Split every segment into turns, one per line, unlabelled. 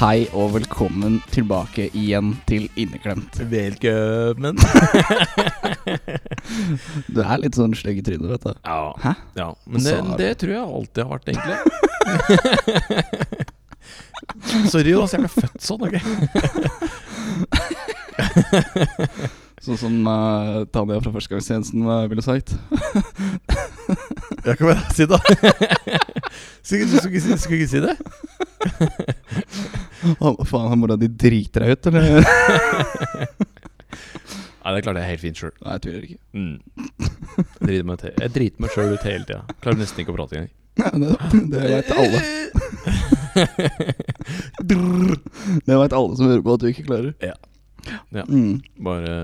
Hei og velkommen tilbake igjen til Inneklemt.
Velkommen.
Du er litt sånn stygg i trynet, vet du.
Ja.
Hæ?
ja. Men
Sa
det,
du?
det tror jeg alltid har vært, egentlig. Sorry, ass. Jeg ble født sånn. ok
Sånn som eh, Tanja fra Førstegangstjenesten eh, ville sagt.
Jeg kan bare si det. Skulle du skulle ikke si, skulle ikke si det?
Å, faen, har mora di driter deg ut, eller?
Nei, det klarte jeg helt fint sjøl.
Nei, jeg tviler ikke.
Mm. Driter meg til- Jeg driter meg sjøl ut hele tida. Klarer nesten ikke å prate engang.
Nei, det det veit alle. Det veit alle som hører på at du ikke klarer.
Ja. Ja.
Mm.
Bare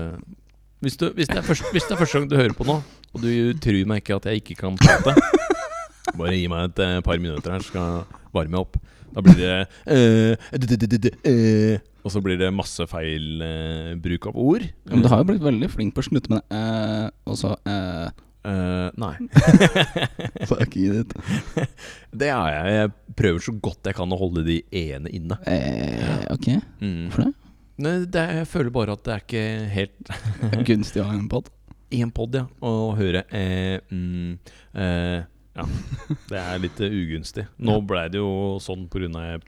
hvis, du, hvis, det er første, hvis det er første gang du hører på nå, og du tror meg ikke at jeg ikke kan prate Bare gi meg et eh, par minutter her, så skal jeg varme opp. Da blir det eh, d- d- d- d- d- eh, Og så blir det masse feil eh, bruk av ord.
Men du har jo blitt veldig flink på å slutte med det. Eh, og så eh,
Eh, nei.
Fuck it.
Det er jeg. Jeg prøver så godt jeg kan å holde de e-ene inne.
Eh, ok,
Mm.
for det?
Nei, det er, jeg føler bare at det er ikke helt
Gunstig å ha en pod.
én pod, ja, å høre eh, mm, eh, Ja. Det er litt eh, ugunstig. Nå blei det jo sånn på grunn av eh,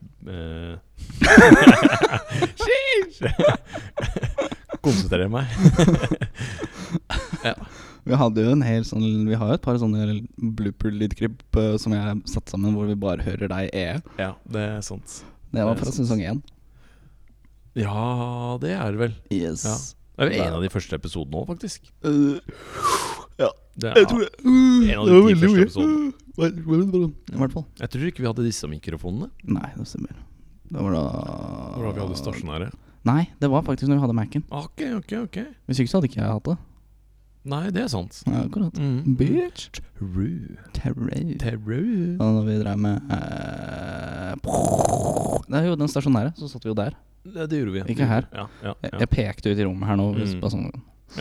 Konsentrerer meg.
Vi hadde jo en hel sånn Vi har jo et par sånne blooper-lydklipp eh, som jeg har satt sammen, hvor vi bare hører deg e.
Ja, det er sant.
Det var fra sesong én.
Ja, det er det vel.
Yes.
Ja. Det er vel en av de første episodene òg, faktisk.
Eh,
Det er,
jeg tror det. Uh,
en av de ti første episodene.
episodene. I hvert fall.
jeg tror ikke vi hadde disse mikrofonene.
Nei, det stemmer. Det var da
Når vi hadde stasjonære.
Nei, det var faktisk når vi hadde Mac-en.
Ok, ok, ok.
Hvis ikke så hadde ikke jeg hatt det.
Nei, det er sant.
Ja, akkurat.
Mm.
Bitch.
Ru.
Terror.
Terror.
Da når vi drev med eh, Det er jo den stasjonære, så satt vi jo der.
Det, det gjorde vi.
Ikke her.
Ja, ja,
Jeg,
ja.
jeg pekte ut i rommet her nå. Hvis
Mm.
bare sånn,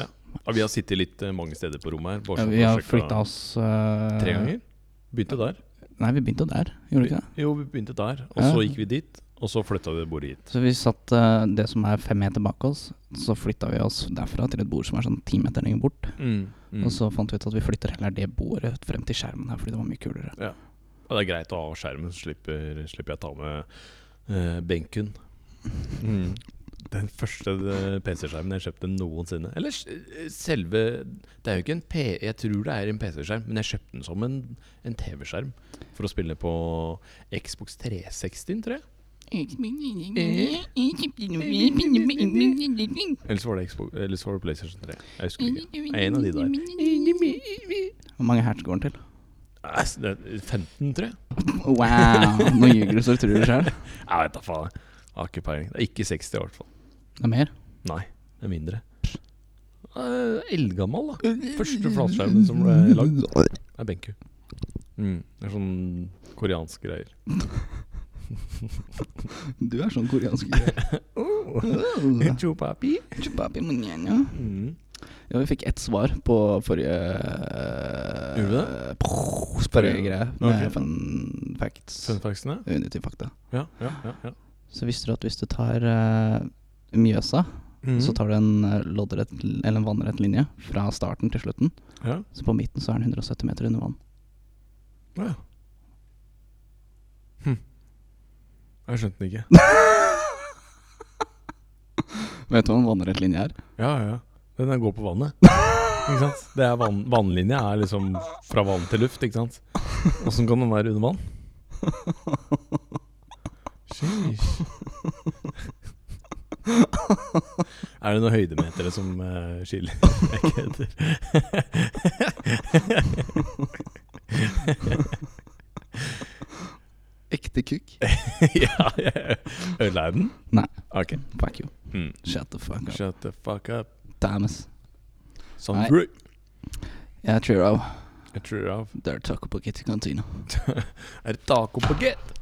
ja, vi har sittet litt eh, mange steder på rommet her.
ja,
Bare sånn
vi
for å
har
sjekke
flytta oss eh,
tre ganger. Begynte der.
Nei, vi begynte jo der, gjorde vi ikke det?
Vi- Jo, vi begynte der, og
Ja.
så gikk vi dit. Og så flytta vi bordet hit.
Så vi satt eh, det som er fem meter bak oss, så flytta vi oss derfra til et bord som er sånn ti meter lenger bort.
Mm.
Og så fant vi ut at vi flytter heller det bordet frem til skjermen her, fordi det var mye kulere.
Og det er greit å ha skjermen, så slipper, slipper jeg å ta med eh, benken. Mm. Den første eh, PC-skjermen jeg kjøpte noensinne. Eller s- eh, selve Det er jo ikke en P... Jeg tror det er en PC-skjerm, men jeg kjøpte den som en, en TV-skjerm. For å spille på Xbox 360, tror jeg. Eh. Eller så var det, Xbox, eller så var det PlayStation 3. Jeg husker ikke. Det er En av de der.
Hvor mange hertz går den til?
Nei, s- det er 15, tror jeg.
Wow! Nå ljuger du så du tror det sjøl.
Jeg vet da faen. jeg. Jeg Har ikke peiling. Det er ikke 60 i hvert fall.
Det er mer.
Nei, det er mindre. Eh, Eldgammel, da. Første flatskjermen som ble lagd, er Benku. Mm, det er sånn koreanske greier.
Du er sånn koreansk greie.
Chupapi. Mm.
Ja, vi fikk ett svar på forrige
Gjorde vi
det? Spørregreie med
Ok.
fun facts.
Fun factsene?
Unity fakta.
Ja, ja, ja. ja.
Så visste du at hvis du tar eh, Mjøsa,
Mm. Mhm.
så tar du en eh, loddrett eller en vannrett linje fra starten til slutten.
ja.
Så på midten så er den 170 meter under vann.
ja. Hm. Jeg skjønte den ikke.
Vet du hva en vannrett linje er?
Ja, ja. Den der går på vannet. Ikke sant? Det er vann, vannlinja er liksom fra vann til luft, ikke sant? Åssen kan den være under vann? Sheesh. Er det noen høydemetere som eh, skiller? Jeg kødder.
Ekte kukk.
ja, jeg ødela jeg den?
Nei.
Ok.
Fuck you.
Mm.
Shut the fuck up.
Shut the fuck up.
Damn
Sånn
Nei.
bru-
Jeg tror av
Jeg tror av.
Det er taco på Kitty Cantina.
Er det taco baguette?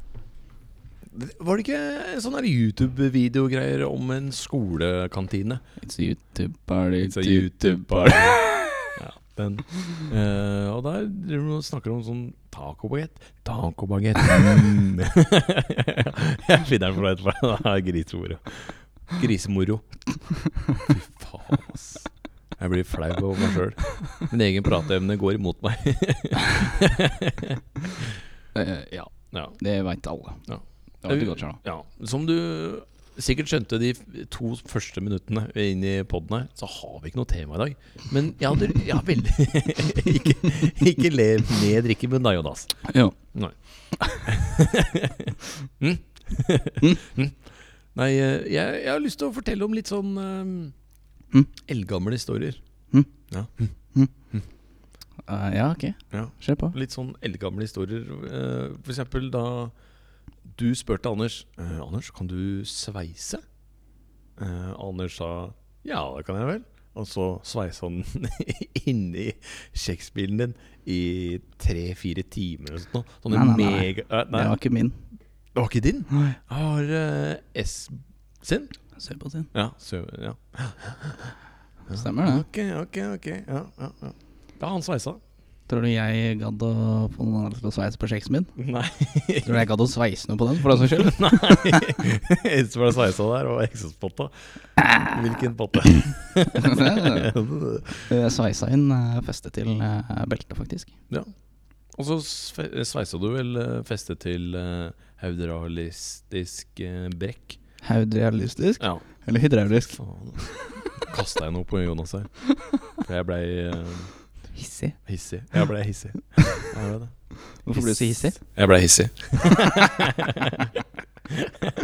Var det ikke sånne der YouTube-videogreier om en skolekantine?
It's a YouTube party,
It's a YouTube party. Ja, den. Eh, og der driver de og snakker om sånn tacobagett. Tacobagett. Mm. Jeg finner den for deg etterpå. Det er grisemoro. Grisemoro. Fy faen, ass. Jeg blir flau over meg sjøl. Min egen prateevne går imot meg.
Eh, ja,
Ja.
det veit alle.
Ja.
Det var ikke godt, Charles.
Ja, som du sikkert skjønte de f- to første minuttene inn i podden her, så har vi ikke noe tema i dag. Men jeg hadde jeg har veldig Ikke, ikke le med drikkemunn da, Jonas.
Jo.
Nei. mm? mm? Nei, eh, jeg, jeg har lyst til å fortelle om litt sånn eh,
Mm.
eldgamle historier.
Eh, ja, ok.
Ja.
Kjør på.
Litt sånn eldgamle historier. eh, For eksempel da du spurte Anders «Eh, Anders, kan du sveise? Eh, Anders sa ja, det kan jeg vel. Og så sveisa han inni kjeksbilen din i tre-fire timer eller sånt noe sånn.
Nei, nei, nei, nei.
mega eh, nei,
Det var ikke min.
det var ikke din?
Nei.
Har eh, S sin?
Se på sin.
Ja. Så, ja.
Stemmer det.
Ok, ok, ok. Ja, ja, ja. Da har han sveisa.
Tror du jeg gadd å få noen andre til å sveise på kjeksen min?
Nei.
Tror du jeg gadd å sveise noe på den, for den saks skyld?
Nei. Eneste var det sveisa der, og eksospotta. Hvilken potte?
Jeg sveisa inn eh, festet til eh, beltet, faktisk.
ja. Og så sve- sveisa du vel eh, festet til eh, hydraulistisk eh, brekk.
Haudrealistisk?
Ja.
Eller hydraulisk?
Faen. Kasta jeg noe på Jonas her? For jeg blei eh,
Hissig.
hissig. Jeg blei hissig. Jeg ble det.
Hvorfor ble du så hissig?
Jeg blei hissig.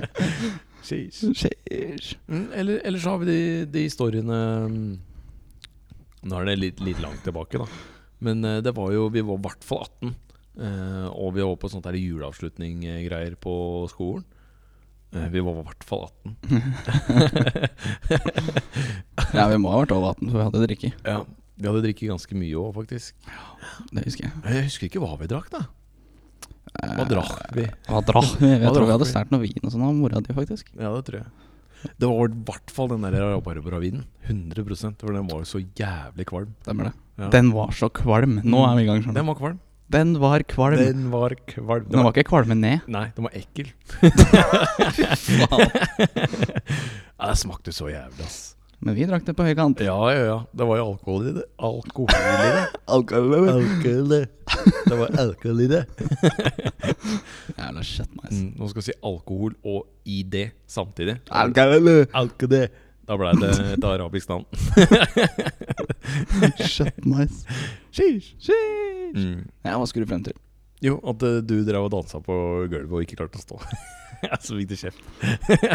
Sheesh.
Sheesh.
Mm, eller, eller så har vi de, de historiene mm, Nå er det litt, litt langt tilbake, da. Men eh, det var jo Vi var i hvert fall 18. eh, og vi var på sånt der juleavslutning-greier på skolen. Eh, vi var i hvert fall 18.
Ja, vi må ha vært over 18, for vi hadde drikke.
ja, vi hadde drikket ganske mye òg, faktisk. Eh,
Det husker jeg.
Jeg husker ikke hva vi drakk, da.
Eh,
Hva drakk vi?
Hva dra? Jeg
Hva
tror vi
drakk
hadde
vi?
stjålet noe vin og sånn av mora di, faktisk.
Ja, det tror jeg. Det var i hvert fall den der rabarbravinen. 100 For den var jo så jævlig kvalm.
Stemmer det.
Ja.
Den var så kvalm. Nå er vi i gang, skjønner du.
Den var kvalm.
Den var kvalm. Den,
Mm. Den var kvalm.
var ikke kvalme ned.
Nei, den var ekkel. Ja, det smakte så jævlig, ass.
Men vi drakk det på høy kant.
Ja, ja, ja. Det var jo alkohol i det. Alkohol i det.
Alkohol.
Alkohol i det. Det var alkohol i det.
Jævla shit, nice.
Mm, nå skal jeg si alkohol og i det samtidig.
Alkohol.
Alkohol. Da ble det et arabisk navn.
Shit, nice.
Sheesh.
Sheesh.
Mm.
Ja, hva skulle du frem til?
Jo, at eh, du drev og dansa på gulvet og ikke klarte å stå. Så fikk du kjeft.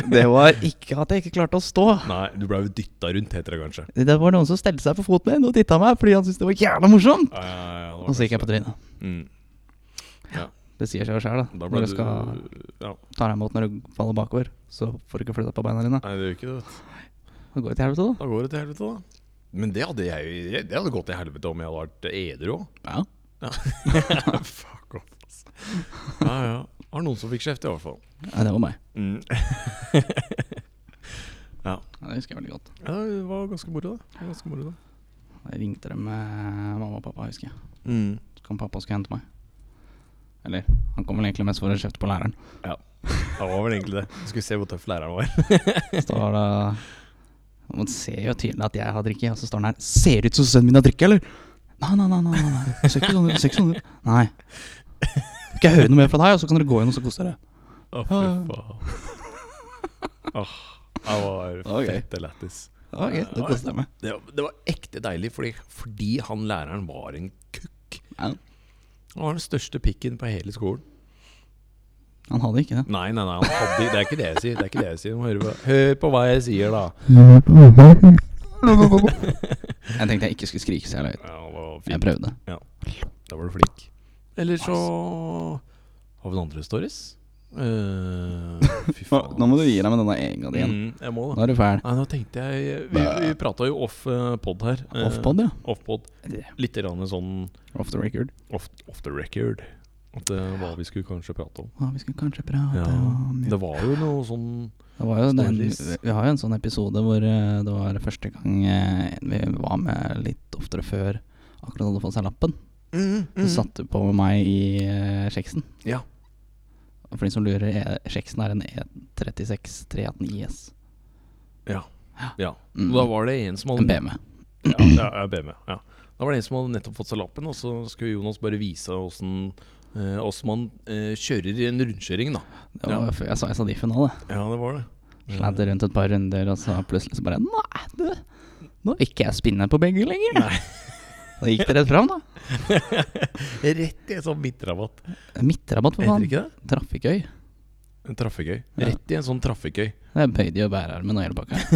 Det var ikke at jeg ikke klarte å stå.
Nei, du ble jo dytta rundt, heter det kanskje.
Det var noen som stelte seg på foten min og titta meg fordi han syntes det var jævla morsomt.
Ja, ja, ja, det
Og
var
så gikk jeg
kanskje
på trynet.
det. Mm.
Det sier seg jo sjøl, da.
Da ble
Når
du
du skal
Ja.
ta deg imot når du faller bakover, så får du ikke flytta på beina dine.
Nei, det gjør ikke det. vet du.
Det går jo til helvete,
Da går det til helvete, da. Men det hadde, jeg, det hadde gått til helvete om jeg hadde vært edru òg.
da. Ja.
Fuck off, ass. Ja, ja. Har noen som fikk kjeft, i hvert fall.
Nei, det var meg.
Mm. ja.
Ja, det husker jeg veldig godt.
ja, det var ganske moro, da. Det var ganske moro, da.
Jeg ringte dem med mamma og pappa, husker jeg.
Mm.
Så kom pappa og skulle hente meg. Eller han kom vel egentlig mest for å kjefte på læreren.
Det var vel egentlig det. Jeg skulle se hvor tøff læreren var.
Så var det Man ser jo tydelig at jeg har drikke, og så står han her. Ser ut som sønnen min har drikke, eller? Nei, nei, nei. nei, nei, nei. Det Ser ikke sånn ut. det Ser ikke sånn ut. Nei. Skal jeg høre noe mer fra deg, og så kan dere gå inn og så kose dere?
Å, fy
Ah.
faen. Åh, det var
var gøy.
fette lættis.
Det var gøy. Det koste jeg meg.
Det, det var ekte deilig, fordi, fordi han læreren var en kukk.
Ja.
Han var den største pikken på hele skolen.
Han hadde ikke det.
Nei, nei, nei, han hadde, det er ikke det jeg sier. Det er ikke det jeg sier. Du må høre på, hør på hva jeg sier, da.
Jeg tenkte jeg ikke skulle skrike så jævla høyt.
Ja, det var
Jeg
fint.
prøvde.
Da var du flink. Eller så har vi noen andre stories. Eh, fy faen.
Nå må du gi deg med denne egen igjen.
Mm, jeg må det.
Nå er du fæl.
Nei, nå tenkte jeg Vi, vi prata jo off eh, pod her. Eh,
Offpod, ja.
Off pod. Litt grann sånn
Mm. Off the record.
off, off the record. At eh, hva vi skulle kanskje prate om.
Ja, vi skulle kanskje prate
Ja,
om
det var jo noe sånn
Det var jo den,
Stories.
vi har jo en sånn episode hvor eh, det var første gang eh, vi var med litt oftere før akkurat hadde fått seg lappen. Så satte du på meg i eh, Kjeksen.
Mhm. Ja.
Og For de som lurer, eh, Kjeksen er en E36 318 IS.
Ja. ja.
Mm.
Da var det en som hadde
En BM.
Ja, ja, ja, BMW, ja. Da var det en som hadde nettopp fått seg lappen, og så skulle Jonas bare vise åssen eh, åssen man eh, kjører i en rundkjøring, da.
Det var
Ja. Mm.
før jeg sa jeg sa diffen òg, det.
Ja, det var det.
Sladde rundt et par runder, og så plutselig så bare Nei, du, nå vil ikke jeg spinne på begge lenger.
Nei.
Da gikk det rett fram, da.
Rett i en sånn midtrabatt.
Midtrabatt, for
Heter
faen.
det ikke det?
Trafikkøy.
En trafikkøy.
Ja.
Rett i en sånn trafikkøy.
Jeg bøyde jo bærearmen og hele pakka.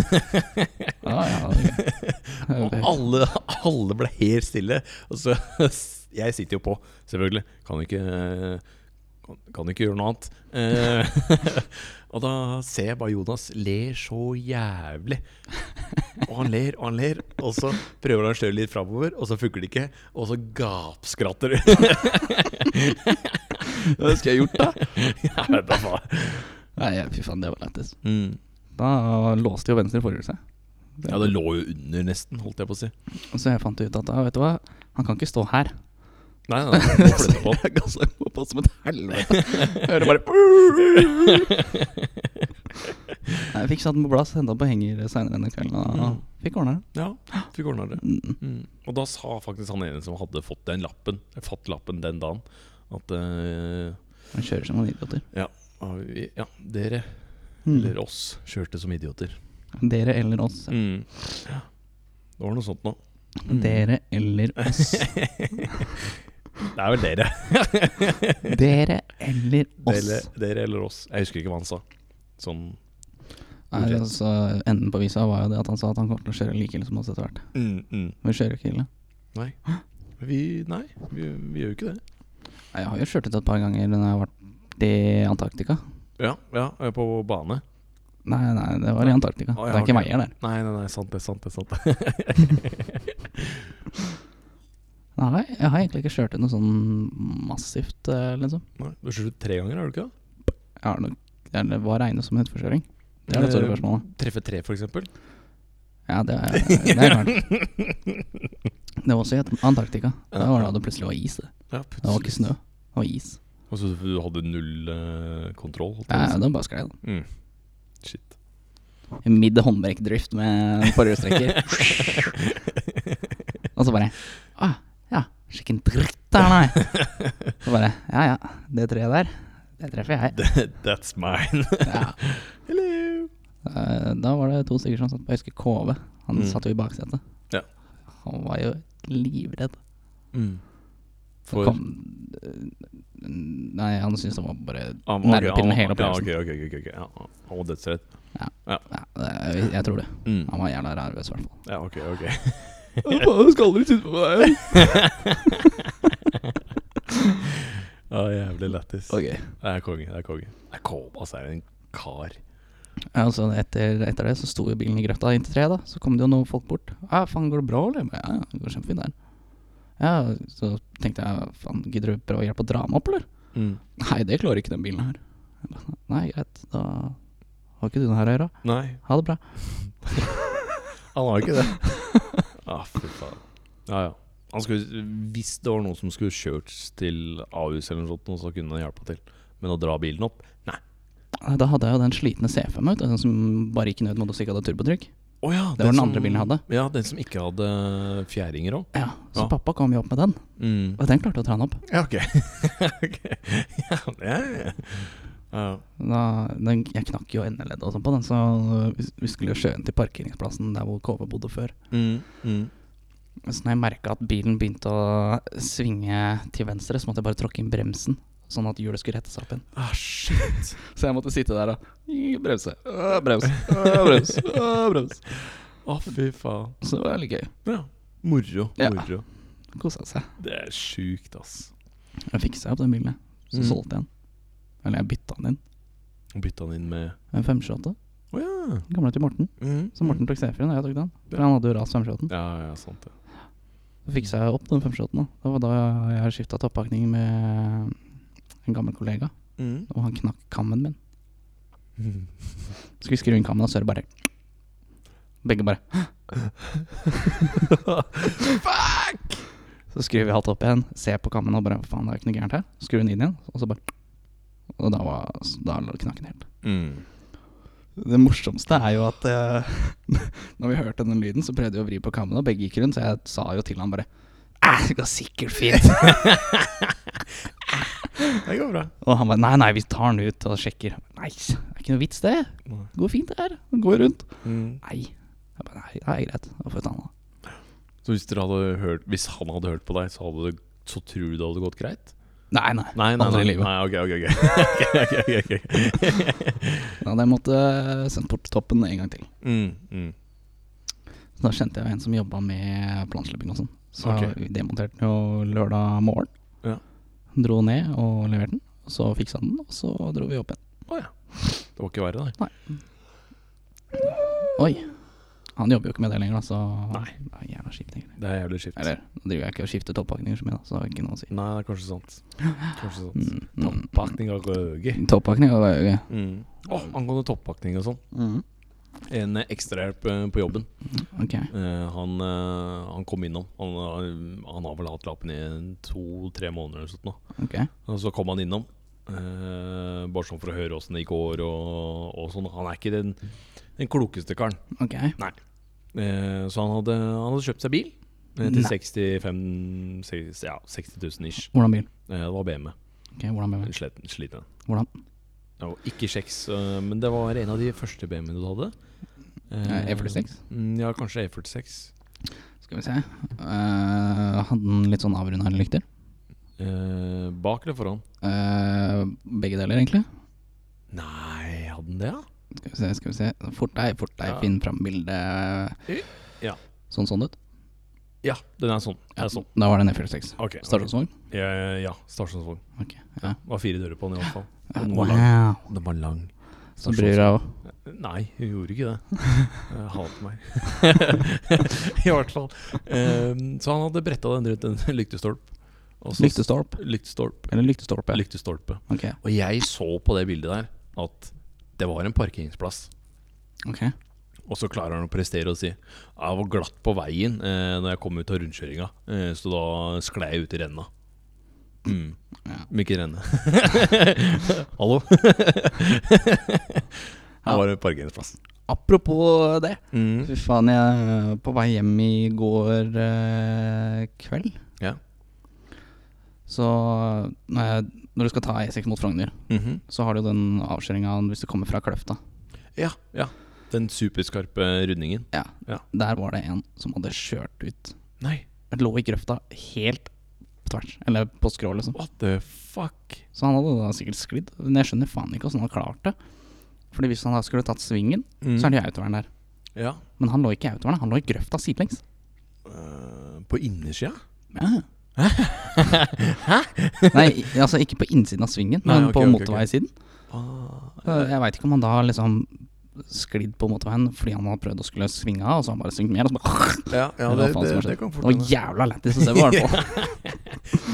Ja, ja. Jeg
Og
bøyde.
alle, alle ble helt stille. Og så Jeg sitter jo på, selvfølgelig. Kan ikke kan, kan ikke gjøre noe annet. Eh, og da ser jeg bare Jonas ler så jævlig. Og han ler og han ler, og så prøver han å kjøre litt framover, og så funker det ikke. Og så gapskratter du. Hva skulle jeg gjort, da? Jeg vet da faen.
Nei, ja, fy faen, det var lættis.
Mm.
Da låste jo venstre forhjul seg.
Ja, det lå jo under, nesten, holdt jeg på å si.
Så jeg fant ut at da, vet du hva, han kan ikke stå her.
Nei, nei, nei.
Så
flytte på.
jeg gasset på på som et helvete. Jeg hører bare Jeg fikk satt den på plass, henta på henger seinere denne kvelden og
Mm.
fikk ordna det.
Ja, fikk ordna det.
Mm.
Mm. Og da sa faktisk han ene som hadde fått den lappen, fått lappen den dagen, at eh,
Han kjører som noen idioter.
ja, ah, vi- ja, dere,
Mm.
eller oss, kjørte som idioter.
Dere eller oss.
Mm. Ja. Det var noe sånt nå.
Dere eller oss.
Det er vel dere.
Dere eller
Dere,
oss.
dere eller oss. Jeg husker ikke hva han sa. Sånn
Nei, altså, enden på visa var jo det at han sa at han kommer til å kjøre like ille som oss etter hvert.
mm, mm.
Men vi kjører jo ikke ille.
Nei. Vi, nei, vi, vi gjør jo ikke det.
Nei, Jeg har jo kjørt ut et par ganger når jeg har vært i Antarktika.
Ja, ja, jeg er på bane.
Nei, nei, det var i Antarktika.
Å, ja,
det er ikke
ok.
veier der.
Nei, nei, nei, sant det, sant det. sant det
Nei, jeg har egentlig ikke kjørt ut noe sånn massivt, eh, liksom.
Nei, Du har kjørt tre ganger, har du ikke det?
Jeg har nok, eller hva regnes som utforkjøring? Det er det store
Eh,
spørsmålet.
Treffe tre, for eksempel?
Ja, det er, det er klart. Det var også i Antarktika. Det var da det plutselig var is. Det
Ja,
Det var ikke snø, det var is.
Altså, du hadde null eh, kontroll? holdt jeg
Ja,
på å
det var bare sklei. da.
si. Mm. Shit.
Midd håndbrekkdrift med forhjulstrekker. Og så bare ah, Ja, skikken dritt der, nei. Så bare Ja ja, det treet der, det treffer jeg.
That's mine.
Ja.
Hello!
Eh, Da var det to stykker som satt på, jeg husker KV. Han
Mm.
satt jo i baksetet.
Ja.
Han var jo livredd.
Mm.
Så
For
kom, eh, nei, han syntes det var bare
Ah, ok,
nervepirrende
ah,
hele
ja,
opplevelsen.
ok, ok, ok, ok, ja, ah, Han var dødsredd.
ja, det- jeg, jeg tror det.
Mm.
Han var jævla nervøs, i hvert fall.
Ja, ok, ok.
Faen, du skal aldri sitte på meg!
Ja, Ah, jævlig lættis.
Ok.
Det er konge. det er konge. Det er Kobas er en kar.
Ja, og så etter, etter det så sto jo bilen i grøfta inntil treet, da. Så kom det jo noen folk bort. Ja, faen, går det bra, eller? Jeg bare, Ja, ja, det går kjempefint der. Ja, så tenkte jeg, faen, gidder du prøve å hjelpe å dra meg opp, eller?
Mm.
Nei, det klarer ikke den bilen her. Jeg ba, Nei, greit, da har ikke du noe her å gjøre.
Nei,
Ha det bra.
han har ikke det. ah, fy faen. Ja, ja. Han skulle, hvis det var noen som skulle kjørt til Ahus eller noe sånt, nå, så kunne han hjelpa til. Men å dra bilen opp Nei.
Nei, Da hadde jeg jo den slitne C5 ut, den som bare gikk ned mot oss ikke hadde turbotrykk.
Å ja,
Det var den andre bilen jeg hadde.
Ja, den som ikke hadde fjæringer òg.
Ja, Så
Ja.
pappa kom jo opp med den, og den klarte å trane opp.
Ja, ok. Ok. ja, ja, ja. ja.
Da, den, jeg knakk jo endeleddet og sånn på den, så vi, vi skulle jo sjøen til parkeringsplassen der hvor KV bodde før.
Mm, mm.
Så når jeg merka at bilen begynte å svinge til venstre, så måtte jeg bare tråkke inn bremsen. Sånn at hjulet skulle rette seg opp igjen.
Ah, shit.
Så jeg måtte sitte der og bremse, øh, bremse, øh, bremse. øh, bremse.
Å, fy faen.
Så det var litt gøy.
Ja. Moro.
Ja.
Moro.
Kosa seg.
Det er sjukt, ass.
Jeg fiksa opp den bilen, jeg. så
Mm.
solgte jeg den. Eller jeg bytta den inn.
Og bytta han inn med
En 528.
Å ja.
Gamla til Morten.
Mm.
Så Morten tok C4-en, og jeg tok den. For han hadde jo rast 528.
Ja, ja, sant det.
Så fiksa jeg opp den 528. Da. Det var da jeg skifta toppakning med en gammel kollega,
Mm.
og han knakk kammen min. Skal vi skru inn kammen, og så er det bare Begge bare Fuck! Så skrur vi halvt opp igjen, ser på kammen og bare Faen, det er ikke noe gærent her. Skrur den inn igjen, og så bare Og da var Da knakk den helt.
Mm.
Det morsomste er jo at eh, når vi hørte den lyden, så prøvde vi å vri på kammen, og begge gikk rundt, så jeg sa jo til han bare Æh, det går sikkert fint.
Det går bra.
og han bare Nei, nei, vi tar den ut og sjekker. Nei, det er ikke noe vits, det.
Nei.
Det går fint, det her. Det går rundt.
Mm.
Nei. Jeg bare, nei, det er greit. Da får vi ta den, da.
Så hvis, dere hadde hørt, hvis han hadde hørt på deg, så, hadde det, så tror du det hadde gått greit?
Nei, nei.
Nei, nei,
Aldri i
nei.
livet.
nei ok, ok, ok. ok, ok, ok, ok.
Da hadde jeg måttet eh, sendt bort toppen en gang til.
Mm, mm.
Så da kjente jeg jo en som jobba med planslipping og sånn. Så
Ok.
vi demonterte den jo lørdag morgen.
Ja.
Dro ned og leverte den. Så fiksa den, og så dro vi opp igjen.
Det var ikke verre, nei.
Oi. Han jobber jo ikke med det lenger, da, så
Nei.
det er jævla kjipt. egentlig.
Det er jævlig skift.
Eller, nå driver jeg ikke og skifter toppakninger så mye, da, så det er ikke noe å si.
Nei, det er kanskje sant. Kanskje sant.
Mm, mm.
Toppakning av røge.
Toppakning var jo gøy.
Mm. Åh, angående toppakning og sånn. En eh, ekstrahjelp eh, på jobben.
Ok.
Eh, han, eh, han kom innom. Han, har- han har vel hatt lappen i to-tre måneder eller sånt nå.
ok.
Og så kom han innom. eh, bare sånn for å høre åssen det går og, og sånn. Han er ikke den, den klokeste karen.
Ok.
Eh, så han hadde, han hadde kjøpt seg bil. eh, Til
Nei.
65 seks- ja, 60 000 ish.
Hvordan bil?
Eh, Det var BMW.
Ok, hvordan bil?
Sliten. sliten.
Hvordan?
Det var ikke kjeks, eh, men det var en av de første BMW-ene du hadde.
Eh, E46?
Mm, Ja, kanskje E46.
Skal vi se. Eh, hadde den litt sånn avrunda lykter?
Eh, bak eller foran?
Eh, begge deler, egentlig.
Nei, hadde den det, ja?
Skal vi se, skal vi se. Fort deg, fort deg,
Ja.
finn fram bildet.
Ja.
Sånn sånn ut.
Ja, den er sånn. Den er sånn.
Da var det en F46.
Ok, ok.
Stasjonsvogn?
Ja, ja, stasjonsvogn.
Ok.
Ja.
Ja.
Det var fire dører på den i hvert fall. Den var lang.
Wow.
Den var lang.
Så bryr jeg
Sånn,
òg.
Nei, hun gjorde ikke det. Jeg hater meg. I hvert fall. Ehm, så han hadde bretta den rundt en lyktestolp. Og så-
Lyktestolp.
Lyktestolp.
Eller lyktestolpe.
Lyktestolpe.
Ok.
Og jeg så på det bildet der at det var en parkeringsplass.
ok.
Og så klarer han å prestere og si Jeg var glatt på veien eh, Når jeg kom ut av rundkjøringa, eh, så da sklei jeg ut i renna. Mm.
Ja.
Men ikke renne. Hallo? Her var det parkeringsplass.
Apropos det.
Mm.
Fy faen, jeg på vei hjem i går eh, kveld.
Ja.
Så når, jeg, når du skal ta E6 mot Frogner,
Mhm.
så har du jo den avkjøringa hvis du kommer fra Kløfta.
Ja, ja. Den superskarpe rundingen.
Ja.
Ja.
Der var det en som hadde kjørt ut.
Nei,
Det lå i grøfta helt på tvers. Eller på skrå, liksom.
what the fuck?
Så han hadde da sikkert sklidd. Men jeg skjønner faen ikke hvordan han hadde klart det. Fordi hvis han da skulle tatt svingen, så er det jo autovern der.
Mm. Ja.
Men han lå ikke i autovernet, han lå i grøfta sidelengs.
Eh, på innersida?
Ja. Nei, i- altså ikke på innsiden av svingen,
Nei,
men
ok,
på
ok, ok.
motorveisiden.
Ah,
Så Jeg veit ikke om han da liksom sklidd på motorveien fordi han hadde prøvd å skulle svinge av, og så har han bare svingt mer. Og så bare,
ja, ja
Eller hva
det,
faen som har
det,
skjedd.
det kan
det
fort
var
hende.
jævla lættis å se på, i hvert fall.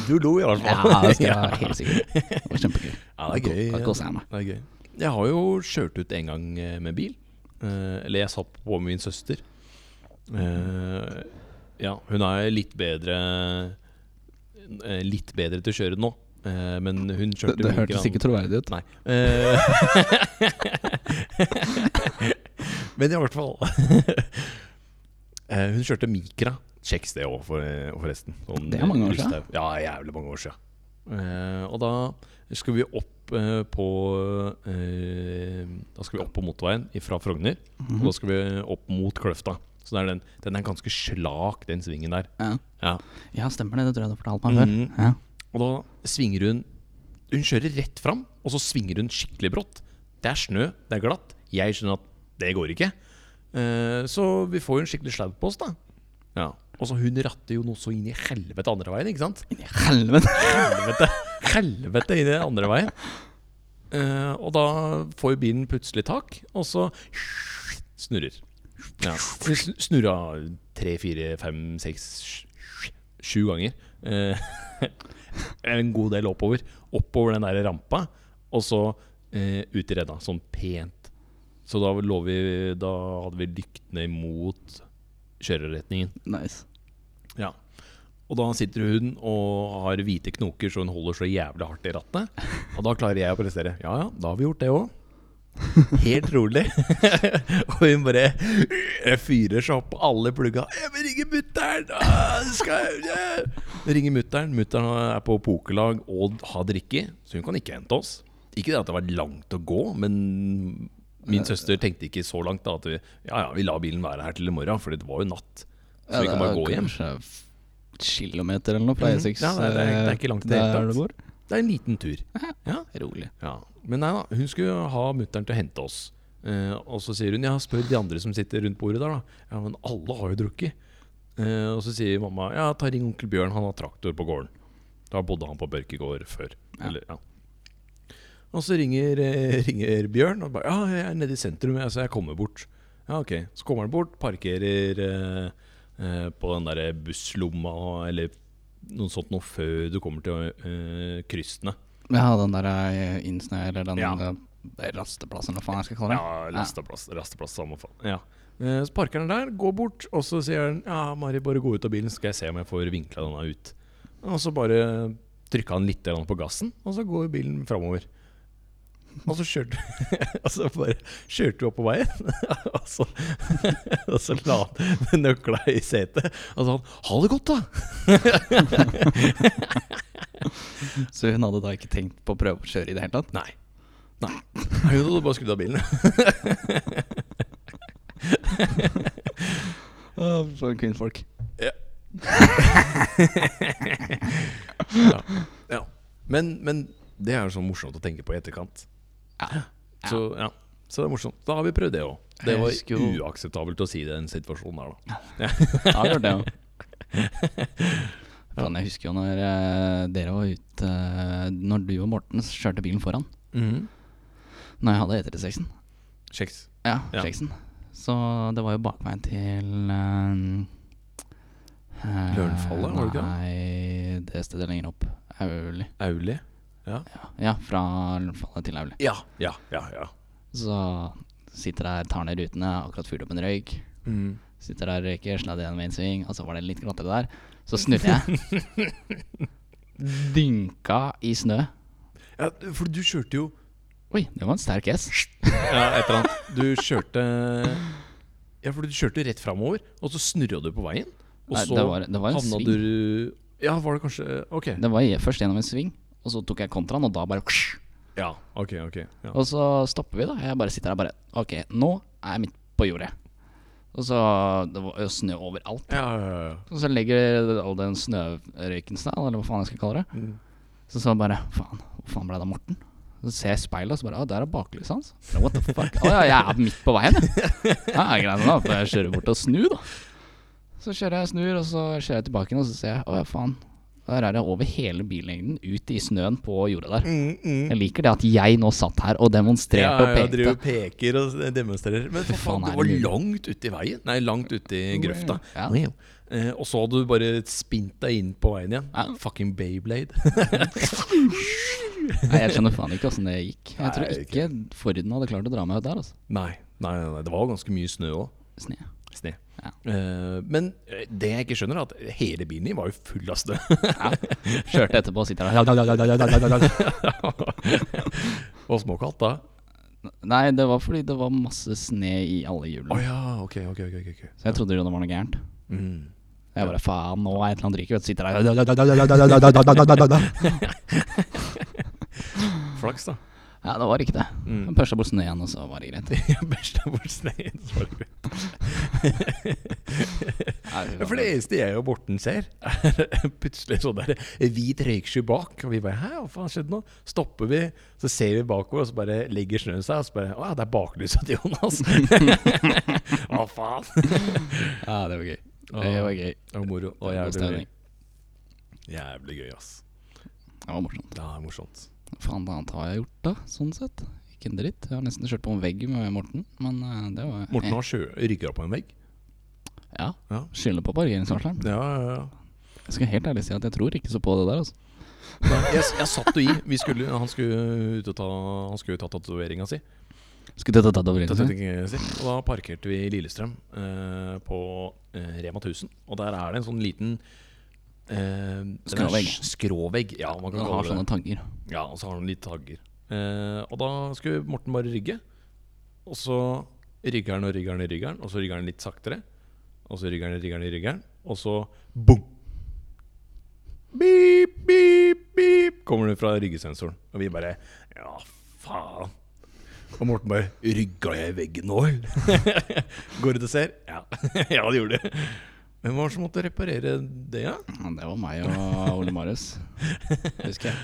Du lo i hvert fall.
Ja, det skal jeg være helt sikker på. Det var kjempegøy.
Ja, det er gøy.
Da koser jeg meg.
Det er gøy. Jeg har jo kjørt ut en gang eh, med bil. Eh, eller jeg satt på min søster. Eh, ja, hun er litt bedre eh, Litt bedre til å kjøre nå, eh, men hun
Det,
kjørte
det
mye
hørtes
grann-
ikke troverdig ut.
Nei. Eh, Men i hvert fall Eh, Hun kjørte Mikra. Kjeks det òg, for, forresten. Sånn,
Det er mange år siden.
Ulstein. Ja, jævlig mange år siden. Eh, og da skulle vi opp eh, på eh, Da skulle vi opp på motorveien fra Frogner.
Mhm.
Og da skulle vi opp mot Kløfta. Så det er den, den er ganske slak, den svingen der.
Ja.
Ja.
ja, stemmer det. Det tror jeg du har fortalt meg før.
Mhm.
Ja.
Og da svinger hun Hun kjører rett fram, og så svinger hun skikkelig brått. Det er snø, det er glatt. Jeg skjønner at det går ikke. Eh, så vi får jo en skikkelig sladd på oss, da. Ja. Og så hun ratter jo noe så inn i helvete andre veien, ikke sant?
I Helvete!
Helvete, helvete inn i andre veien. Eh, og da får jo bilen plutselig tak, og så snurrer. Ja. Hun sn- Snurra tre, fire, fem, seks, sju ganger. Eh, en god del oppover. Oppover den der rampa, og så eh, ut i redda, sånn pent. Så da, lå vi, da hadde vi lyktene imot kjøreretningen.
Nice.
Ja. Og da sitter hun og har hvite knoker, så hun holder så jævlig hardt i rattet. Og da klarer jeg å prestere. Ja ja, da har vi gjort det òg. Helt rolig. og hun bare jeg fyrer seg opp på alle plugga. Jeg vil ringe mutter'n! Ah, skal jeg- jeg Ringer mutter'n. Mutter'n er på pokerlag og har drikke, så hun kan ikke hente oss. Ikke det at det var langt å gå, men min søster tenkte ikke så langt da at vi, ja, ja, vi lar bilen være her til i morgen, for det var jo natt. Så vi kan bare gå hjem.
Kilometer eller noe på
Mhm.
E6.
Ja, nei, det er- det er ikke langt i det hele
eh, der
tatt.
du bor.
Det er en liten tur. Ja,
Rolig.
Ja. Men nei da, hun skulle ha mutter'n til å hente oss. Eh, og så sier hun ja, spør de andre som sitter rundt bordet der, da. Ja, men alle har jo drukket. Eh, og så sier mamma ja, ta ring onkel Bjørn, han har traktor på gården. Da bodde han på Børkegård før.
Ja.
Eller, ja. Og så ringer, eh, ringer Bjørn og bare ja, jeg er nede i sentrum, jeg, så jeg kommer bort. Ja, ok. Så kommer han bort, parkerer eh, eh, på den derre busslomma eller noe sånt noe før du kommer til eh, krystene.
Ja, den der eh, innsnø, eller den
Ja.
eh, rasteplassen, hva faen jeg skal kalle det.
Ja, lasteplass, lasteplass, samme faen. Ja. Eh, Så parker han der, går bort, og så sier han Ja, Mari, bare gå ut av bilen, så skal jeg se om jeg får vinkla denne ut. Og så bare trykka han litt grann på gassen, og så går bilen framover. Og så kjørte Og så bare kjørte vi opp på veien, og så, og så la han nøkla i setet. Og så sa han 'ha det godt', da.
Så hun hadde da ikke tenkt på å prøve å kjøre i det hele tatt?
Nei. Nei. Hun hadde bare skrudd av bilen.
Å, Ah, For kvinnfolk.
ja. ja. Men, men det er jo så morsomt å tenke på i etterkant.
Ja.
Så, ja. så det er morsomt. Da har vi prøvd det òg. Det
Jeg
var
husker jo-
uakseptabelt å si det i den situasjonen der, da.
Ja, det gjør det jo. Faen, jeg husker jo når eh, dere var ute eh, Når du og Morten kjørte bilen foran. Mm. Når jeg hadde E36-en.
Kjeks.
Ja,
Ja.
Jackson. Så det var jo bakveien til eh, eh,
Lørenfallet, var det ikke det?
Nei, det stedet lenger opp. Auli.
Auli. Ja.
Ja, fra Lørenfallet til Auli.
Ja, ja, ja. ja.
Så sitter der, tar ned rutene, akkurat fyrt opp en røyk. Mm. Sitter der og røyker, sladder gjennom en sving, og så var det litt glattere der. Så snurrer jeg. Dynka i snø.
ja for du kjørte jo
Oi, det var en sterk S.
Ja, et eller annet. Du kjørte Ja, for du kjørte rett framover, og så snurra du på veien. Og
Nei,
så
det var- det var en
havna
sving.
du Ja, var det kanskje Ok.
Det var i- først gjennom en sving, og så tok jeg kontraen, og da bare
Ja, ok, ok. Ja.
Og så stopper vi, da. Jeg bare sitter der og bare Ok, nå er jeg midt på jordet. Og så Det var jo snø overalt.
Ja, ja, ja, ja.
Og så legger all den snørøyken seg, eller hva faen jeg skal kalle det.
Mm.
Så så bare Faen, hvor faen ble det av Morten? Så ser jeg i speilet, og så bare Å, der er baklyset hans. Bare, What the fuck? Å ja, jeg er midt på veien, jeg. Ja, ja, greit, da får jeg kjøre bort og snu, da. Så kjører jeg og snur, og så kjører jeg tilbake igjen, og så ser jeg Å ja, faen. Der er det over hele billengden, ut i snøen på jordet der. Jeg liker det at jeg nå satt her og demonstrerte
Ja, ja,
og pekte.
driver og peker og demonstrerer. Men for faen,
faen
det
er
var
det mulig?
langt ute i veien. Nei, langt ute i grøfta.
Ja.
Eh, og så hadde du bare spint deg inn på veien igjen.
Ja.
Fucking Bayblade.
Nei, jeg skjønner faen ikke åssen det gikk. Jeg tror
Nei,
ikke Forden hadde klart å dra meg ut der, altså.
nei, nei, nei, nei, det var ganske mye snø òg.
Sne.
Sne.
Ja.
Eh, men eh, det jeg ikke skjønner, er at hele bilen din var jo full av snø.
Kjørte etterpå og sitter der. Ja, ja, ja, ja, ja, ja, ja, ja.
og småkaldt da.
Nei, det var fordi det var masse sne i alle hjulene.
Å ja, ok, ok. ok, ok, ok.
Så jeg trodde jo det var noe gærent.
Mm.
Jeg bare faen, nå er et eller annet drikke, vet du. Sitter der.
Flaks, da.
Ja, det var ikke det.
Mm.
Jeg Pusha bort snø igjen, og så var det greit.
Bæsja bort sneen, så var det greit.
Nei, fy
Ja, For det
faen.
eneste jeg og Borten ser, er plutselig sånn der hvit røyksky bak. Og vi bare 'hæ, hva faen skjedde nå?' Stopper vi, så ser vi bakover, og så bare legger snøen seg. Og så bare 'å ja, det er baklysa til Jonas'. hva faen?
Ja, det var gøy. Det var gøy.
Det var moro. Det var
God
jævlig,
stemning.
gøy. jævlig gøy, ass.
Det var morsomt.
Det er morsomt.
Faen, hva annet har jeg gjort da, sånn sett? Ikke en dritt. Jeg har nesten kjørt på en vegg med Morten, men eh, det var
Morten har sjø- rygga på en vegg.
Ja.
Ja.
Skylder på parkeringsvarsleren.
Ja, ja, ja.
Jeg skal helt ærlig si at jeg tror ikke så på det der, altså.
Nei, jeg, jeg satt jo i. Vi skulle, han skulle ut og ta Han skulle ta tatoveringa si.
Skulle du ta tatoveringa si?
Tatoveringen sin. Og da parkerte vi i Lillestrøm eh, på eh, Rema 1000. Og der er det en sånn liten eh, den er
Skråvegg.
s- Skråvegg. Ja, man kan
Han
kalle
har sånn
det det.
sånne tanker.
Ja, og så har han litt tagger. Eh, og da skulle Morten bare rygge. Og så rygger han og rygger han og rygger han, og så rygger han litt saktere. Og så rygger han og rygger han og rygger han, og så boom! Beep, beep, beep, kommer det fra ryggesensoren. Og vi bare Ja, faen. Og Morten bare 'Rygga jeg i veggen nå, eller?' Går ut og ser. Ja, ja det gjorde det. Hvem var det som måtte reparere det, ja?
Ja, det var meg og Ole Marius. Husker jeg.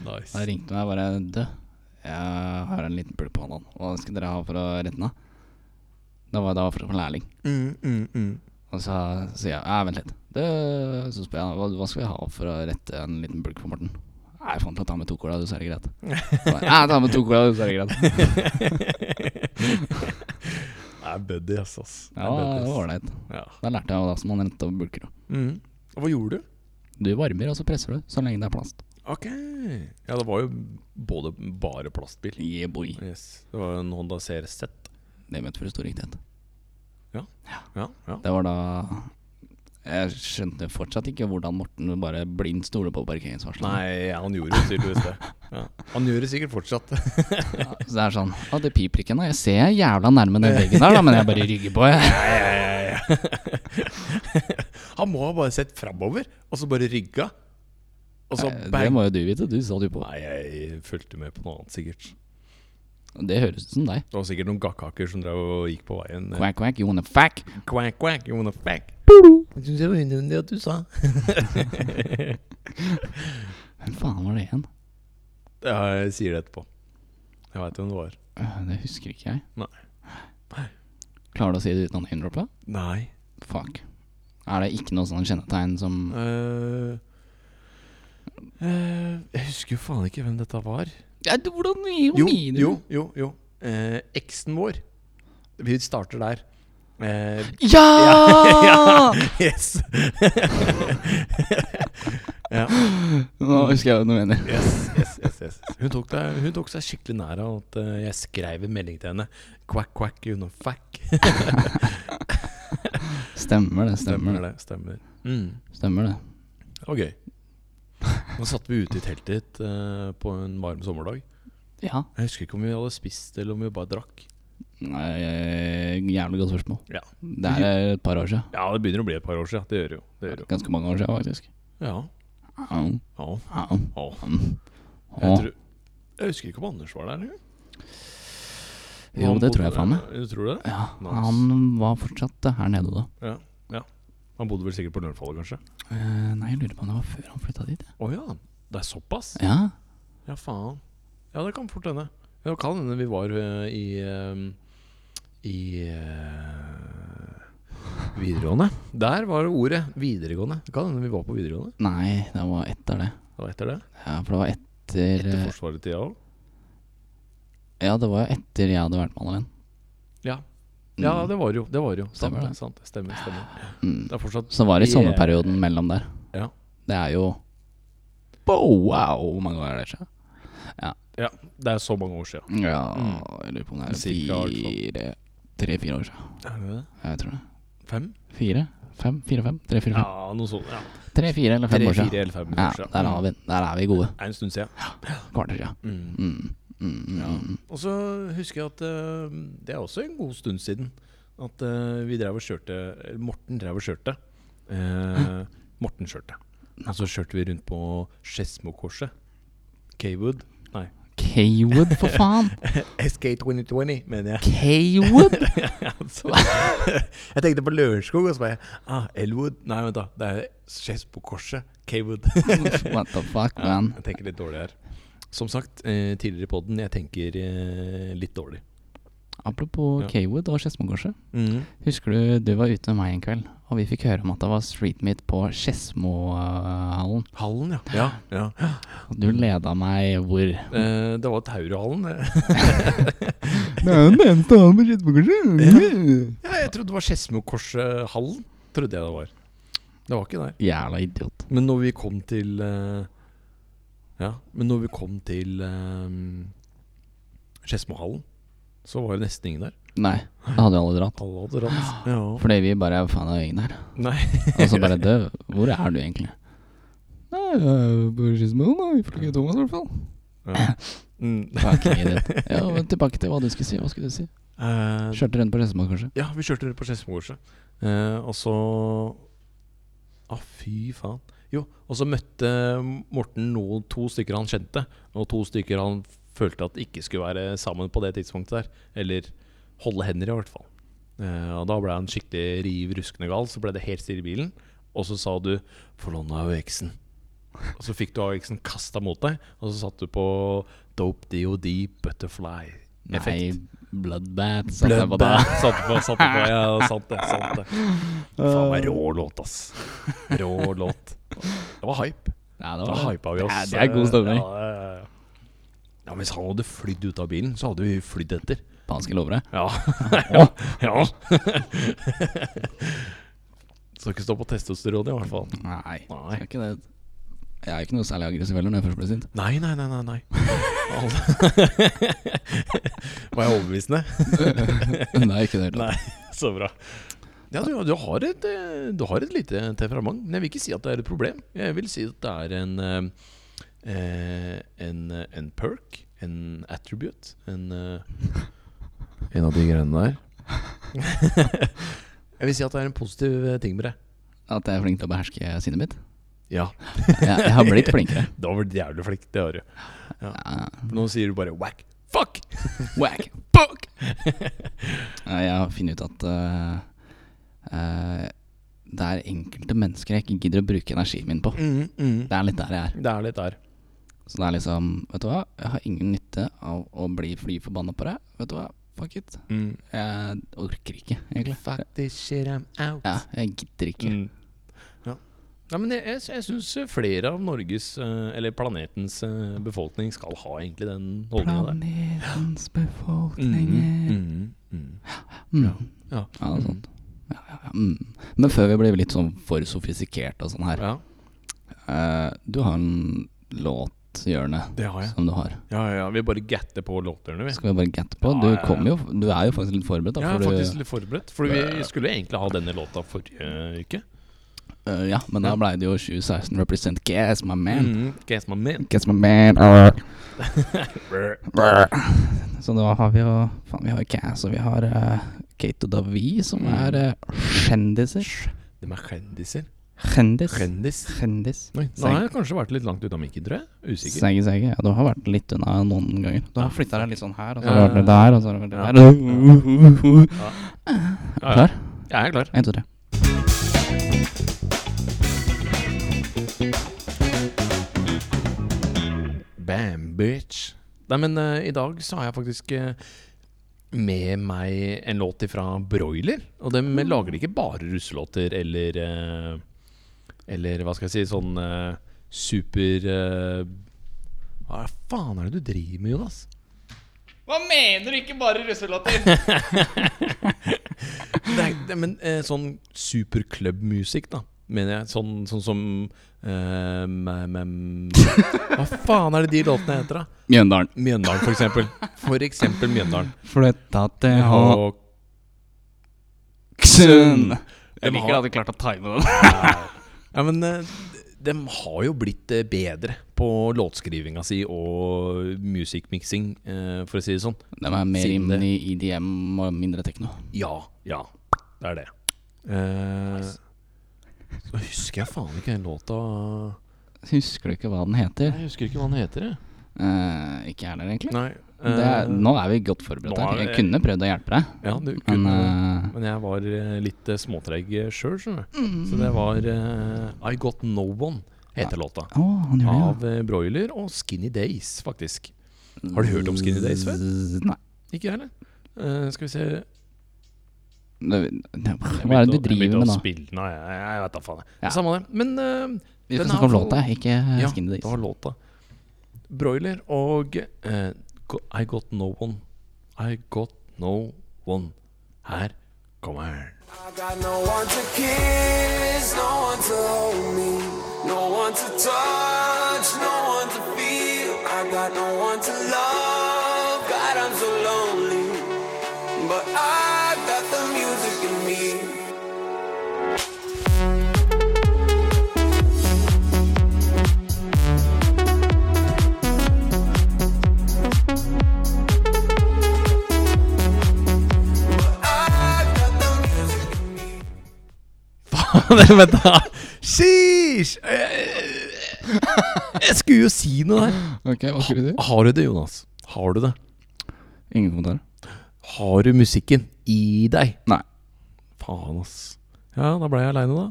Da
Nice.
ringte meg bare Du, jeg har en liten pulp på hånda. Hva skal dere ha for å rette den av? Da var da var jeg fortsatt en lærling.
Mm, mm, mm.
Og så sier jeg Nei, vent litt. Det, så spør jeg hva, hva skal vi ha for å rette en liten bulk for Morten? Nei, jeg fant ut å ta med to cola, du, så er det greit. Så bare, Nei, ta med to cola, du, så er det greit.
Det er buddy, ass. ass. Det er
Ja,
buddy,
det
ass.
var ålreit.
Ja.
Da lærte jeg jo da som man rente over bulker. da.
Mhm. Og Hva gjorde du?
Du varmer, og så presser du, så lenge det er plast.
Ok. Ja, det var jo både bare plastbil.
Yeah, boy.
Yes. Det var en Honda CRZ.
Det mente for stor riktighet.
Ja, ja.
Det var da Jeg skjønte fortsatt ikke hvordan Morten bare blindt stoler på parkeringsvarslene.
Nei, han gjorde jo tydeligvis det. Ja. Han gjør det sikkert fortsatt.
Ja, så det er sånn Å, det piper ikke ennå. Jeg ser jeg er jævla nærme den veggen der, da, men jeg bare rygger på, jeg.
Han må ha bare sett framover, og så bare rygga. Og så
Eh, Det
bang.
må jo du vite. Du satt jo på.
Nei, jeg fulgte med på noe annet, sikkert.
Det høres ut som deg.
Det var sikkert noen gakkaker som drev og gikk på veien.
Quack, quack, you wanna fuck?
Quack, quack, you wanna fuck? Jeg synes det var unødvendig at du sa.
Hvem faen var det igjen?
Ja, jeg sier det etterpå. Jeg veit hvem det var.
Øh, Det husker ikke jeg.
Nei.
Klarer du å si det uten å innrømme det?
Nei.
Fuck. Er det ikke noe sånn kjennetegn som
Eh, eh, jeg husker jo faen ikke hvem dette var.
Ja, du, Hvordan jo,
Jo,
mener
jo, jo. jo. Eh, eksen vår. Vi starter der. Eh,
Ja!
yes!
Nå husker jeg hva du mener.
yes, yes, yes, yes. Hun, tok deg, hun tok seg skikkelig nær av at eh, jeg skrev en melding til henne. Quack, quack, you know, fuck.
Stemmer det, stemmer det.
det. Stemmer. Mm.
Stemmer det.
Det var gøy. Nå satt vi ute i teltet ditt eh, på en varm sommerdag.
Ja.
Jeg husker ikke om vi hadde spist eller om vi bare drakk.
Nei, eh, jævlig godt spørsmål.
Ja.
Det er eh, et par år siden.
Ja, det begynner å bli et par år siden. Det gjør det jo. Det gjør det jo.
Ganske mange år siden, faktisk.
Ja.
Au,
ja.
au,
ja.
au.
Jeg, tror, jeg husker ikke om Anders var der engang.
Jo, det tror jeg faen meg.
Du tror det?
Ja,
Nice.
han var fortsatt eh, her nede da.
Ja. ja. Han bodde vel sikkert på Lørenfallet, kanskje?
Eh, nei, jeg lurer på om det var før han flytta dit. jeg.
Å ja. Det er såpass?
Ja,
Ja, faen. Ja, det kan fort hende. Ja, Det kan hende vi var eh, i eh, I eh, videregående. Der var det ordet. Videregående. Det kan hende vi var på videregående.
Nei, det var etter det.
Det var etter det.
Ja, for det var etter, eh,
Etter Forsvaret-tida òg.
Ja, det var etter jeg hadde vært med Anna-Len.
Ja. ja, det var det jo. Det var det jo.
Stemmer det.
sant, sant. Stemmer, stemmer.
Mm.
Det er fortsatt
Så var det i
Yeah.
sommerperioden mellom der.
Ja.
Det er jo Wow, wow, hvor mange år er det siden?
Ja, det er så mange år siden.
Ja, jeg lurer på om det er
Mm. Cirka, i hvert fall.
fire Tre-fire år siden. Jeg tror det.
Fem?
Fire? Fem? Fire-fem? Tre-fire?
Ja,
fem.
noe sånt. Ja.
Tre-fire eller fem
Tre,
år siden.
fire eller fem
Ja,
år siden.
der, har vi, den. der er vi gode.
Det er en stund siden.
Kvart år siden.
Mm.
Mm. Mm, mm,
Ja.
mm.
Og så husker jeg at eh, det er også en god stund siden at eh, vi drev og kjørte eller Morten drev og kjørte. Eh, Morten kjørte. Og så kjørte vi rundt på Skedsmokorset. K-Wood. Nei,
K-Wood, for faen!
SK2020, mener jeg.
K-Wood!
Så- jeg tenkte på Lørenskog, og så bare ah, Elwood. Nei, vent, da. Det er Skedsmokorset. K-Wood.
What the fuck, man?
Jeg tenker litt dårlig her. Som sagt, eh, tidligere i poden, jeg tenker eh, litt dårlig.
Apropos
Ja.
K-Wood og Skedsmokorset.
Mm.
Husker du du var ute med meg en kveld, og vi fikk høre om at det var street meet på Skedsmohallen.
Hallen, ja. ja, ja.
Og du leda meg hvor?
Eh, det var Taurohallen. det.
Det er jo den eneste hallen på Skedsmokorset!
Ja, jeg trodde det var Skedsmokorset-hallen. Trodde jeg det var. Det var ikke der.
Jævla idiot.
Men når vi kom til eh, Ja, Men når vi kom til um, Skedsmohallen, så var det nesten ingen der.
Nei, da hadde vi alle dratt.
Alle hadde dratt. Ja.
Fordi vi bare Faen, det er jo ingen her.
Nei.
Og så bare dø. Hvor er du egentlig? Nei, jeg er jo på Skismoen, ifølge Thomas i hvert fall.
Ja. Mm.
Ok, det- Ja, men tilbake til hva du skulle si. Hva skulle du si?
Eh,
Kjørte rundt på Skismoen, kanskje?
ja, vi kjørte rundt på Skedsmokorset. Eh, og så Ah, fy faen. Jo, og så møtte Morten noen, to stykker han kjente, og to stykker han følte at ikke skulle være sammen på det tidspunktet der. Eller holde hender, i hvert fall. Eh, og da ble han skikkelig riv ruskende gal, så ble det helt stille i bilen. Og så sa du 'forlån AUX-en'. Og så fikk du AUX-en kasta mot deg, og så satt du på Dope DOD Butterfly.
Nei, Bloodbath. satt jeg på da.
Bloodbath satt på, satt på. Ja, sant det. sant det Faen meg rå låt, ass. Rå låt. Det var hype.
Ja, det
Da
var det.
hypa vi
Det
oss.
er- det er god stemning.
Ja, ja, ja, ja. ja, Hvis han hadde flydd ut av bilen, så hadde vi flydd etter.
Faen, skal jeg love deg.
Ja. ja. ja. Skal ikke stå på testosteron, i hvert fall.
Nei.
Nei.
Skal ikke det. Jeg er ikke noe særlig aggressiv heller når jeg først blir sint.
Nei, nei, nei. nei, nei. Var jeg overbevisende?
Nei, ikke det hele tatt.
Nei, så bra. Ja, du, du, har et, eh, du har et lite temperament, men jeg vil ikke si at det er et problem. Jeg vil si at det er en eh, eh, en, eh, en perk, en attribute, en eh, En av de greiene der. jeg vil si at det er en positiv eh, ting med det.
At jeg er flink til å beherske sinnet mitt.
Ja,
Jeg, jeg har blitt flinkere.
da var det jævlig flink, det har du.
Ja.
Nå sier du bare whack, fuck!
Whack! Fuck! Ja, jeg har funnet ut at eh, eh, det er enkelte mennesker jeg ikke gidder å bruke energien min på.
Mm, mm.
Det er litt der jeg er.
Det er litt der.
Så det er liksom Vet du hva, jeg har ingen nytte av å bli fly forbanna på deg. Vet du hva, fuck it.
Mm.
Jeg orker ikke, egentlig.
Fuck Mm, this shit, I'm out.
Ja, jeg gidder ikke.
Ja. ja, men jeg, jeg, jeg syns flere av Norges, eh, eller planetens, eh, befolkning skal ha egentlig den holdninga der.
Planetens
Mhm,
befolkninger
mhm, mhm.
mm.
Mm, Ja.
Ja, sånn. det er sånt. Ja, ja, ja. Mm. Men før vi blir litt sånn for sofistikerte og sånn her
ja,
eh, Du har en låt, Hjørne,
det har jeg.
som du har.
Ja, ja, Vi bare gatter på låtene, vi.
Skal vi bare gette på?
Ja,
Du,
ja, ja.
kommer jo, du er jo faktisk litt forberedt. Da,
Jeg er
for
faktisk
du,
litt forberedt, for vi skulle egentlig ha denne låta forrige uke.
Eh, ja, men da blei det jo 2016 represent Guess my man.
Mhm, Guess my man.
Guess my man uh. Så da har vi jo Faen, vi har jo Cass, og vi har eh, Kate og Davi, som
Mm.
er eh, kjendiser.
De er kjendiser.
Kjendis.
Kjendis.
Kjendis.
Oi, Nå har jeg kanskje vært litt langt unna mikken, tror jeg. Usikker.
Seige, seige. Ja, du har vært litt unna noen ganger. Du har flytta deg litt sånn her, og så har du
Ja.
vært litt der, og så har du vært
Ja.
litt der.
Ja, ja.
Klar?
Jeg er klar.
Én, to, tre.
Bam, bitch. Nei, men eh, i dag så har jeg faktisk eh, med meg en låt fra Broiler. Og de lager ikke bare russelåter eller eh, Eller hva skal jeg si, sånn eh, super eh, Hva faen er det du driver med, Jonas?
Hva mener du ikke bare russelåter?
det er, det, men eh, sånn superklubbmusikk, da. Mener jeg. Sånn, sånn som eh, mæ- mæ- Hva faen er det de låtene heter, da?
Mjøndalen.
Mjøndalen, for eksempel. For eksempel Mjøndalen.
Flytta til
Og
Hokksund.
Jeg liker at
du klarte å time den.
Ja, men eh, de har jo blitt eh, bedre på låtskrivinga si og musikkmiksing, eh, for å si det sånn.
De er mer
Siden det-
inne i IDM og mindre tekno.
Ja, ja, det er det. Eh, Så husker jeg faen ikke den låta
Husker du ikke hva den heter?
Jeg husker ikke hva den heter, jeg.
Eh, ikke jeg heller, egentlig.
Nei.
Det
eh,
er, nå er vi godt forberedt
nå er
her. Jeg
vi-
kunne prøvd å hjelpe deg,
Ja, du
men
kunne
eh,
Men jeg var eh, litt eh, småtreig sjøl, skjønner du. Mm. Så det var eh, I Got No One, heter låta.
Å, han gjør det, ja.
Av eh, Broiler og Skinny Days, faktisk. Har du hørt om Skinny Days før?
Z- Nei.
Ikke jeg heller. Eh, skal vi se
Det- det- Hva er det du driver med nå?
Spille. Nei, jeg, jeg vet da faen. jeg.
Ja.
Samme det. Men eh,
Vi skal
Den
snakke om
er-
låta, ikke eh,
ja,
Skinny
det
Days.
var låta. Broiler og eh, go- I Got No One. I Got No One. Her kommer den.
I got no one to kiss, no one to hold me, no one to touch, no one to feel. got no one to love. God, I'm so lonely. But I got the music in me. é I got the music in me.
Nei, Vent, da. Sheesh! Eh, Jeg skulle jo si noe der.
Ok, hva skulle du?
Har du det, Jonas? Har du det?
Ingen kommentarer?
Har du musikken i deg?
Nei.
Faen, ass. Ja, da ble jeg aleine, da.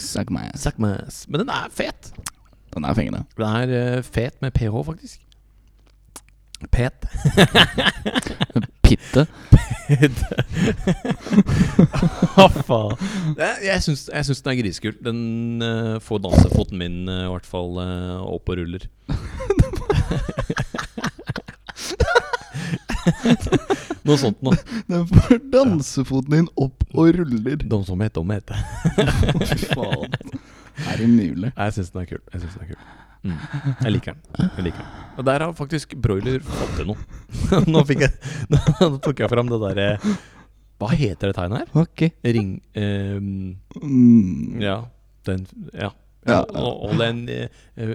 Suck my ass.
Suck my ass. Men den er fet.
Den er fengende.
Den er eh, fet med ph, faktisk. Pet.
Pitte.
Hva faen? Jeg, jeg, syns, jeg syns den er grisekul. Den eh, får dansefoten min eh, i hvert fall eh, opp og ruller. Noe sånt noe.
Den får dansefoten din opp og ruller.
De som heter, de heter.
Fy faen. Er det mulig?
Jeg syns den er kul. Jeg, synes den er kul. Mm. jeg liker den. Jeg liker den Og der har faktisk broiler fått til noe. nå, fikk jeg, nå tok jeg fram det derre Hva heter det tegnet her?
Ok.
Ring... ehm,
Mm.
ja. Den Ja.
Ja.
Jeg hol- holder en eh, eh,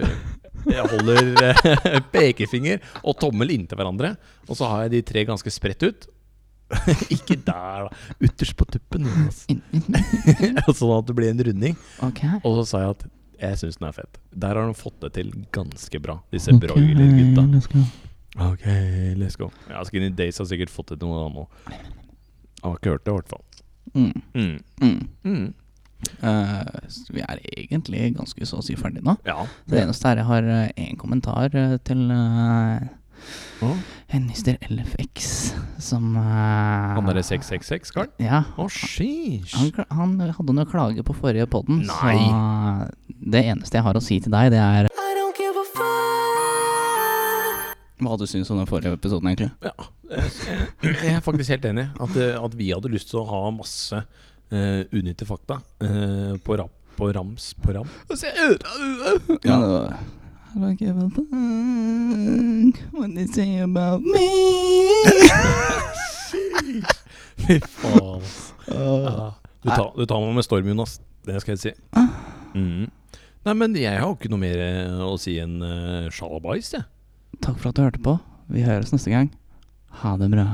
Jeg holder eh, pekefinger og tommel inntil hverandre. Og så har jeg de tre ganske spredt ut. Ikke der, da. Ytterst på tuppen. Jonas. sånn at det blir en runding.
Ok.
Og så sa jeg at jeg syns den er fett. Der har de fått det til ganske bra, disse broiler-gutta. Ok, let's go. Ja, Skinny Days har sikkert fått til noe annet òg. Har ikke hørt det, i hvert fall.
Mm.
Mm.
Mm.
Mm.
Eh, så vi er egentlig ganske så å si ferdig nå.
Ja.
Det eneste er jeg har én kommentar eh, til eh, en Mr. LFX som eh,
Han derre 666-karen?
Ja.
Å, sheesh.
Han, kla- han hadde noe klage på forrige podden, så
Nei.
det eneste jeg har å si til deg, det er
I don't give a fuck.
Hva du syns om den forrige episoden, egentlig?
Ja, jeg jeg er faktisk helt enig. At, eh, at vi hadde lyst til å ha masse uh, unyttige fakta eh, på, rap, på rams på ram.
Ja. det var- I don't give a fuck what they say about me.
Fy faen. ass. Ja. Du, tar, du tar meg med storm, Jonas. Det skal jeg si. Mhm. Nei, men jeg har ikke noe mer eh, å si enn uh, sjalabais, jeg.
Takk for at du hørte på. Vi høres neste gang. Ha det bra.